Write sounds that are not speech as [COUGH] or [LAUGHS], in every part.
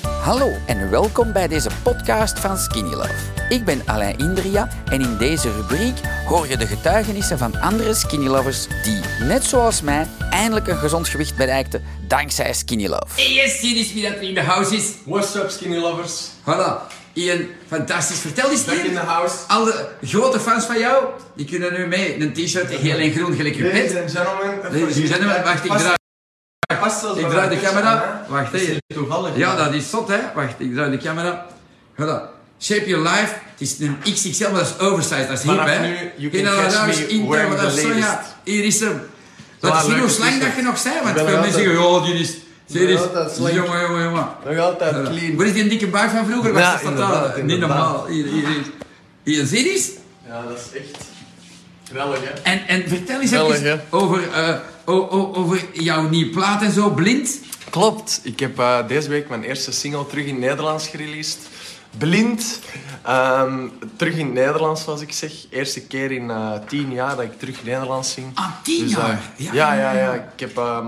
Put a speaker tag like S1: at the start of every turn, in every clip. S1: Hallo en welkom bij deze podcast van Skinny Love. Ik ben Alain Indria en in deze rubriek hoor je de getuigenissen van andere Skinny Lovers die, net zoals mij, eindelijk een gezond gewicht bereikten dankzij Skinny Love.
S2: Yes, hier is dus wie dat in de house is.
S3: What's up, skinny lovers?
S2: Voilà, Ian, fantastisch. Vertel eens,
S3: Back in the
S2: Ian.
S3: house.
S2: Alle grote fans van jou, die kunnen nu mee een t-shirt heel en groen gelijk je
S3: Ladies
S2: bent.
S3: and gentlemen. even
S2: Ladies and
S3: zien.
S2: gentlemen, wacht, ik
S3: Past-
S2: draai,
S3: past zelfs
S2: ik
S3: bij
S2: draai
S3: mijn
S2: de
S3: bus aan,
S2: camera.
S3: hè.
S2: Wacht,
S3: Dat is
S2: hè.
S3: niet toevallig.
S2: Ja,
S3: hè.
S2: dat is zot, hè. Wacht, ik draai de camera. Voilà. Shape Your Life, het is een XXL, maar dat is oversized, dat is hip,
S3: Vanaf
S2: hè.
S3: nu, you
S2: Geen
S3: can catch
S2: allerdags
S3: me
S2: intro,
S3: wearing
S2: maar dat
S3: the
S2: is zo, ja.
S3: latest.
S2: Hier is hem. Dat
S3: Voilà,
S2: is hier hoe
S3: leuke
S2: slank
S3: t-shirt.
S2: dat je nog zijn, want
S3: Ik ben
S2: veel
S3: nog
S2: mensen
S3: altijd-
S2: zeggen, oh, die is... Die
S3: ben
S2: is
S3: nog altijd slank.
S2: jongen, jongen, jongen.
S3: Nog altijd
S2: Voilà.
S3: clean.
S2: Waar is die dikke buik van vroeger? Was
S3: Ja,
S2: dat
S3: inderdaad,
S2: fataal, hè? Niet
S3: inderdaad.
S2: normaal. Hier, hier, hier. Hier, zie je eens?
S3: Ja, dat is echt knellig, hè.
S2: En, en vertel eens
S3: Belg,
S2: even over, eh, o- o- over jouw nieuwe plaat en zo, Blind.
S3: Klopt. Ik heb eh, deze week mijn eerste single terug in het Nederlands gereleased. Blind. Ehm, terug in het Nederlands, zoals ik zeg. Eerste keer in eh, tien jaar dat ik terug Nederlands zing.
S2: Ah, tien
S3: eh,
S2: jaar? Ja,
S3: ja, ja,
S2: ja,
S3: ja,
S2: ja.
S3: Ik heb, ehm,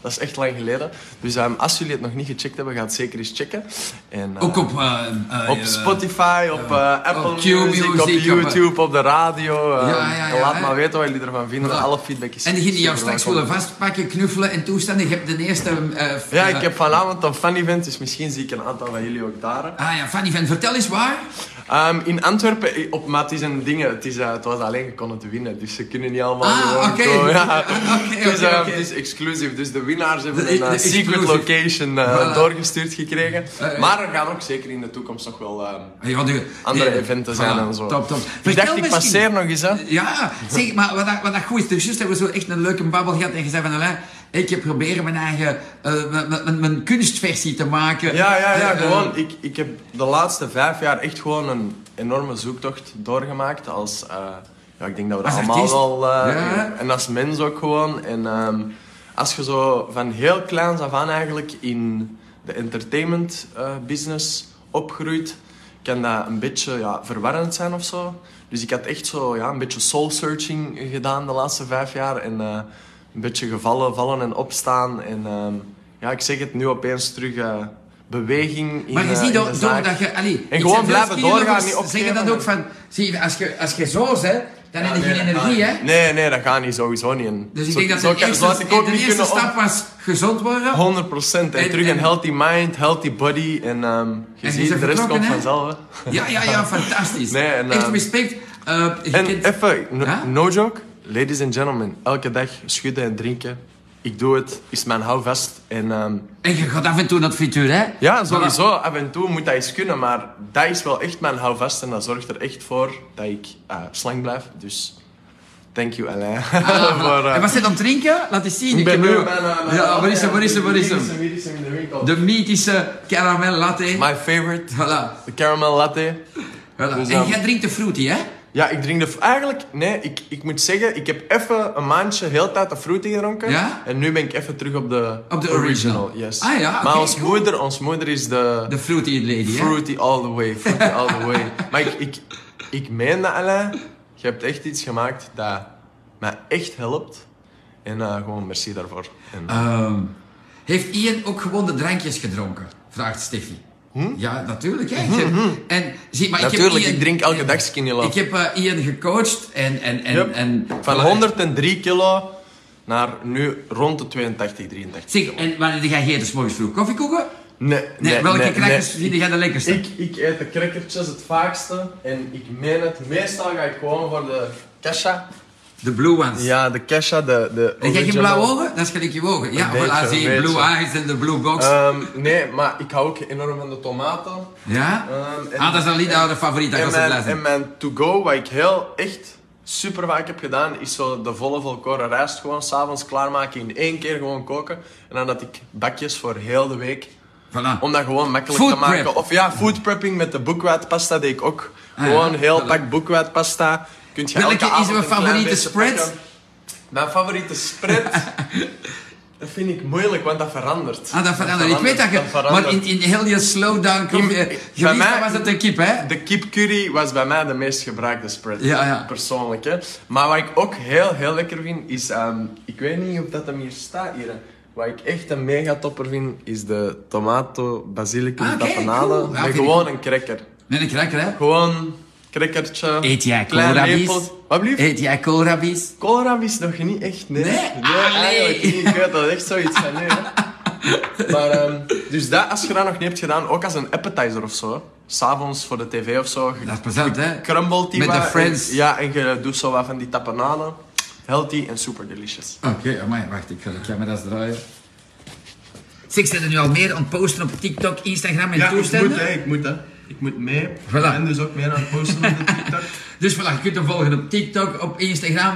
S3: dat is echt lang geleden. Dus ehm, als jullie het nog niet gecheckt hebben, ga het zeker eens checken. En, eh,
S2: Ook op... eh, eh,
S3: op
S2: eh,
S3: Spotify, op eh, Apple
S2: Q
S3: Music, op
S2: Music, op, eh,
S3: YouTube, op de radio. ehm,
S2: Ja, ja, ja,
S3: laat
S2: hè.
S3: maar weten wat jullie ervan vinden.
S2: Ja.
S3: Alle feedback is
S2: En diegenen die jou
S3: super
S2: straks
S3: welkom.
S2: willen vastpakken, knuffelen en toestanden, je hebt de eerste... eh, f-
S3: Ja,
S2: eh,
S3: ik heb vanavond een fan-event, dus misschien zie ik een aantal van jullie ook daar.
S2: Ah ja, Fanny Van, vertel eens waar.
S3: Ehm, in Antwerpen, eh, op, maar het is een ding, het, is, eh, het was alleen gekonnen te winnen, dus ze kunnen niet allemaal
S2: Ah,
S3: gewoon
S2: oké.
S3: komen.
S2: [LAUGHS]
S3: Ja.
S2: Oké,
S3: dus,
S2: oké,
S3: ehm,
S2: oké.
S3: Het is exclusief, dus de winnaars hebben
S2: De- e-
S3: een
S2: de
S3: eh, secret
S2: exclusive.
S3: location eh,
S2: Voilà. Eh,
S3: doorgestuurd gekregen.
S2: Ja, ja.
S3: Maar er gaan ook zeker in de toekomst nog wel... ehm,
S2: Ah Ja, de-
S3: Andere
S2: eh,
S3: eventen
S2: voilà,
S3: zijn en zo.
S2: Top, top.
S3: Ik
S2: Vertel
S3: dacht, ik
S2: misschien-
S3: passeer nog eens, hè.
S2: Ja, zeg, maar wat dat, wat dat goed is, dus juist hebben we zo echt een leuke babbel gehad en gezegd van, Alain, ik heb proberen mijn eigen, eh, mijn- mijn, mijn kunstversie te maken.
S3: Ja, ja,
S2: Eh,
S3: ja.
S2: eh,
S3: Gewoon, ik, ik heb de laatste vijf jaar echt gewoon een enorme zoektocht doorgemaakt. Als, eh, ja, ik denk dat we dat
S2: Als
S3: allemaal
S2: artiest?
S3: wel... eh,
S2: Ja.
S3: En als mens ook gewoon. En ehm, als je zo van heel kleins af aan eigenlijk in de entertainment eh, business opgroeit, kan dat een beetje ja, verwarrend zijn of zo. Dus ik had echt zo ja, een beetje soul searching gedaan de laatste vijf jaar. En eh, een beetje gevallen, vallen en opstaan. En ehm, ja, ik zeg het nu opeens terug. eh, beweging in
S2: Maar je
S3: eh,
S2: ziet
S3: in
S2: door,
S3: de
S2: door
S3: zaak.
S2: dat je... Allee, ik zeg
S3: gewoon
S2: veel
S3: blijven
S2: skinnyloggers
S3: doorgaan, niet
S2: zeggen
S3: opgeven.
S2: dat ook van... Zie, je, als je, als je zo bent, dan heb je
S3: nee,
S2: geen
S3: dat
S2: energie, hè.
S3: Nee, nee, dat gaat niet, sowieso niet. En
S2: Dus ik
S3: zo-
S2: denk dat
S3: zo
S2: de
S3: kan- zo had
S2: eerste,
S3: ik ook
S2: de
S3: niet
S2: eerste
S3: kunnen op-
S2: stap was gezond worden.
S3: 100 procent. En,
S2: En-
S3: terug
S2: en-
S3: een healthy mind, healthy body. En ehm, je
S2: En je
S3: ziet,
S2: bent
S3: de rest
S2: vertrokken,
S3: komt
S2: hè?
S3: vanzelf. hè.
S2: Ja, ja, ja, fantastisch.
S3: Nee, en,
S2: Echt
S3: ehm,
S2: respect. Eh, je
S3: En
S2: kent-
S3: even, no,
S2: Ja?
S3: no joke. Ladies and gentlemen, elke dag schudden en drinken. Ik doe het, is mijn houvast. En ehm,
S2: en je gaat af en toe naar het frituur, hè?
S3: ja,
S2: Voilà.
S3: sowieso, af en toe moet dat eens kunnen. Maar dat is wel echt mijn houvast. En dat zorgt er echt voor dat ik eh, slank blijf. Dus, thank you Alain. [LAUGHS]
S2: Ah, voilà.
S3: voor, eh,
S2: en wat zit aan het drinken? Laat eens zien.
S3: ik ben
S2: heb
S3: nu...
S2: ook- Ja, waar is hem, waar is hem, waar is hem?
S3: Wie is hem in de winkel?
S2: De mythische caramel latte.
S3: My favorite,
S2: Voilà.
S3: de caramel latte.
S2: voilà.
S3: Dus,
S2: en
S3: ehm,
S2: jij drinkt de fruity, hè?
S3: Ja, ik drink de... f- Eigenlijk, nee, ik, ik moet zeggen, ik heb even een maandje heel de tijd de fruity gedronken.
S2: Ja?
S3: En nu ben ik even terug op de...
S2: Op de original.
S3: yes.
S2: Ah ja,
S3: Maar
S2: oké,
S3: ons
S2: cool.
S3: moeder, ons moeder is de...
S2: De fruity lady, hè?
S3: fruity all the way, fruity all the way. Maar ik, ik, ik meen dat, Alain. Je hebt echt iets gemaakt dat mij echt helpt. En eh, gewoon merci daarvoor. En,
S2: Ehm, heeft Ian ook gewoon de drankjes gedronken? Vraagt Steffi. Ja, natuurlijk. Hè. Ik heb- En, zie, maar ik,
S3: Hm? natuurlijk,
S2: heb Ian,
S3: ik drink elke dag skinny love.
S2: Ik heb eh, Ian gecoacht en... en, en,
S3: Yep.
S2: en
S3: Van
S2: voilà.
S3: 103 kilo naar nu rond de 82, 83
S2: Zeg,
S3: kilo.
S2: en wanneer ga je dus morgens vroeg koffiekoeken?
S3: Nee,
S2: Nee,
S3: nee,
S2: welke
S3: nee,
S2: crackers
S3: nee.
S2: vind jij de lekkerste?
S3: Ik, ik eet de crackertjes het vaakste en ik meen het. Meestal ga ik gewoon voor de kesha.
S2: De blue ones.
S3: Ja, de kesha, de, de
S2: En jij geen
S3: original.
S2: blauwe ogen? Dat is gelijk je ogen. Ja,
S3: Een beetje,
S2: voilà,
S3: een
S2: zie je,
S3: beetje.
S2: blue eyes en de blue box.
S3: Ehm, nee, maar ik hou ook enorm van de tomaten.
S2: ja?
S3: ehm, en-
S2: ah, dat is dan niet
S3: en-
S2: jouw favoriet, dat
S3: En
S2: was het
S3: mijn, en
S2: blijven.
S3: mijn to-go, wat ik heel echt super vaak heb gedaan, is zo de volle volkoren rijst gewoon s'avonds klaarmaken, in één keer gewoon koken. En dan dat ik bakjes voor heel de week
S2: Voilà.
S3: Om dat gewoon makkelijk
S2: Food
S3: te maken.
S2: prep.
S3: Of ja, food prepping met de boekwaardpasta deed ik ook.
S2: Ah,
S3: gewoon
S2: ja.
S3: heel
S2: Voilà.
S3: pak boekwaardpasta. Kunt je
S2: Welke
S3: elke
S2: is
S3: avond
S2: uw
S3: een klein
S2: favoriete
S3: beetje
S2: spread?
S3: pakken. Mijn favoriete
S2: [LAUGHS]
S3: spread? dat vind ik moeilijk, want dat verandert.
S2: Ah, dat verandert. Ik weet dat je... maar
S3: verandert.
S2: in, in heel je slowdown... Kom,
S3: In-
S2: je,
S3: bij
S2: je wist,
S3: mij-
S2: dat was het een kip, hè?
S3: De kipcurry was bij mij de meest gebruikte spread.
S2: Ja, ja.
S3: Persoonlijk, hè. Maar wat ik ook heel, heel lekker vind, is... ehm, ik weet niet of dat hem hier staat, hier. hè. Wat ik echt een megatopper vind, is de tomato basilicum
S2: Ah, kijk,
S3: tapenade.
S2: cool. Ja,
S3: Met
S2: vind ik
S3: gewoon
S2: ook.
S3: een cracker.
S2: Nee, een cracker, hè?
S3: Gewoon crackertje.
S2: Eet jij
S3: klein
S2: koolrabies?
S3: lepel- Wat blieft?
S2: Eet jij koolrabies?
S3: Koolrabies nog niet echt, nee.
S2: Nee? Allee.
S3: eigenlijk niet. Ik weet dat echt zoiets van nee. hè. Maar, ehm, dus dat, als je dat nog niet hebt gedaan, ook als een appetizer of zo. S'avonds voor de tv of zo. Je
S2: Dat is plezant, hè?
S3: crumbelt die
S2: Met de
S3: wat
S2: friends.
S3: en- ja, en je doet zo wat van die tapenade. Healthy en super delicious.
S2: Oké, amai, wacht, ik ga, ik ga me dat eens draaien. Zeg, zijn er nu al meer aan het posten op TikTok, Instagram en toestanden?
S3: ik moet, hè. Ik moet mee.
S2: Voilà. En
S3: dus ook meer aan het posten op de TikTok.
S2: Dus voilà, je kunt hem volgen op TikTok, op Instagram,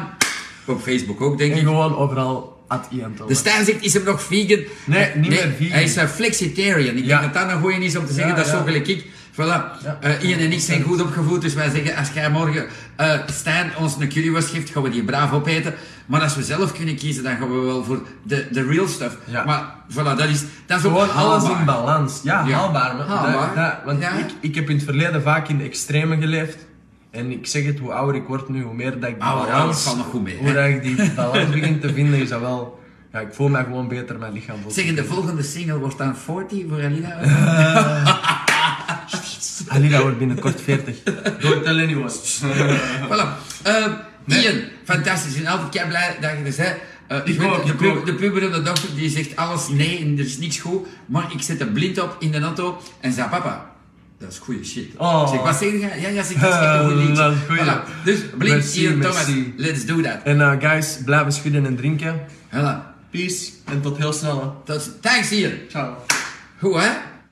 S2: op Facebook ook, denk
S3: En
S2: ik.
S3: gewoon overal at Ian
S2: De Stijn zegt, is hem nog vegan?
S3: Nee, niet meer vegan.
S2: Hij is een flexitarian. Ik
S3: Ja.
S2: denk dat dat een goeie is om te zeggen,
S3: Ja,
S2: dat is
S3: ja.
S2: zo gelijk ik. Voilà, Eh, Ian en ik zijn goed opgevoed, dus wij zeggen, als jij morgen eh Stijn ons een currywurst geeft, gaan we die braaf opeten. Maar als we zelf kunnen kiezen, dan gaan we wel voor de, de real stuff.
S4: Ja.
S2: Maar voilà, dat is, dat is ook
S4: Gewoon alles
S2: haalbaar.
S4: in balans. Ja,
S2: Ja.
S4: haalbaar. maar
S2: Haalbaar.
S4: Dat, dat- want
S2: Ja.
S4: ik, ik heb in het verleden vaak in de extreme geleefd. En ik zeg het, hoe ouder ik word nu, hoe meer dat ik die
S2: Ah, maar dat
S4: balans...
S2: valt nog goed mee,
S4: Hoe
S2: hè?
S4: dat ik die balans begin te vinden, is dat wel... Ja, ik voel mij gewoon beter, mijn lichaam voelt
S2: Zeg, en de volgende single wordt dan 40 voor Alina.
S4: Alina wordt binnenkort
S2: [LAUGHS]
S4: 40. Don't tell anyone.
S2: Voilà. Eh, Ian, fantastisch. Ik ben altijd kei blij dat je er bent. Eh, ik weet,
S4: ook,
S2: de,
S4: ik
S2: pu-
S4: ook.
S2: de puberende dochter die zegt alles nee en er is niks goed, maar ik zet er blind op in de auto en zei papa, dat is goede shit.
S4: Oh.
S2: Ik Zeg, wat zeg je? Ja, ja, zeg, dat is echt een goed
S4: Eh, [LAUGHS]
S2: liedje.
S4: dat is goeie.
S2: Voilà. Dus blind,
S4: Merci,
S2: Ian Thomas,
S4: merci.
S2: let's do that.
S4: En eh, guys, blijven schudden en drinken.
S2: Voilà.
S4: Peace. En tot heel snel. hè.
S2: Tot, thanks Ian.
S4: Ciao.
S2: Goed hè?